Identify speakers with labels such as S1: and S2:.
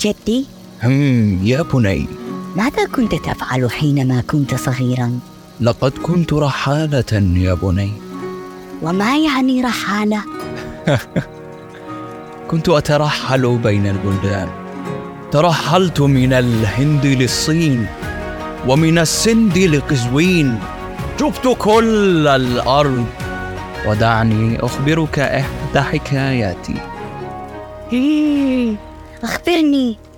S1: جدي
S2: هم يا بني
S1: ماذا كنت تفعل حينما كنت صغيرا
S2: لقد كنت رحالة يا بني
S1: وما يعني رحاله
S2: كنت أترحل بين البلدان ترحلت من الهند للصين ومن السند لقزوين جبت كل الأرض ودعني أخبرك إحدى حكاياتي
S1: اخبرني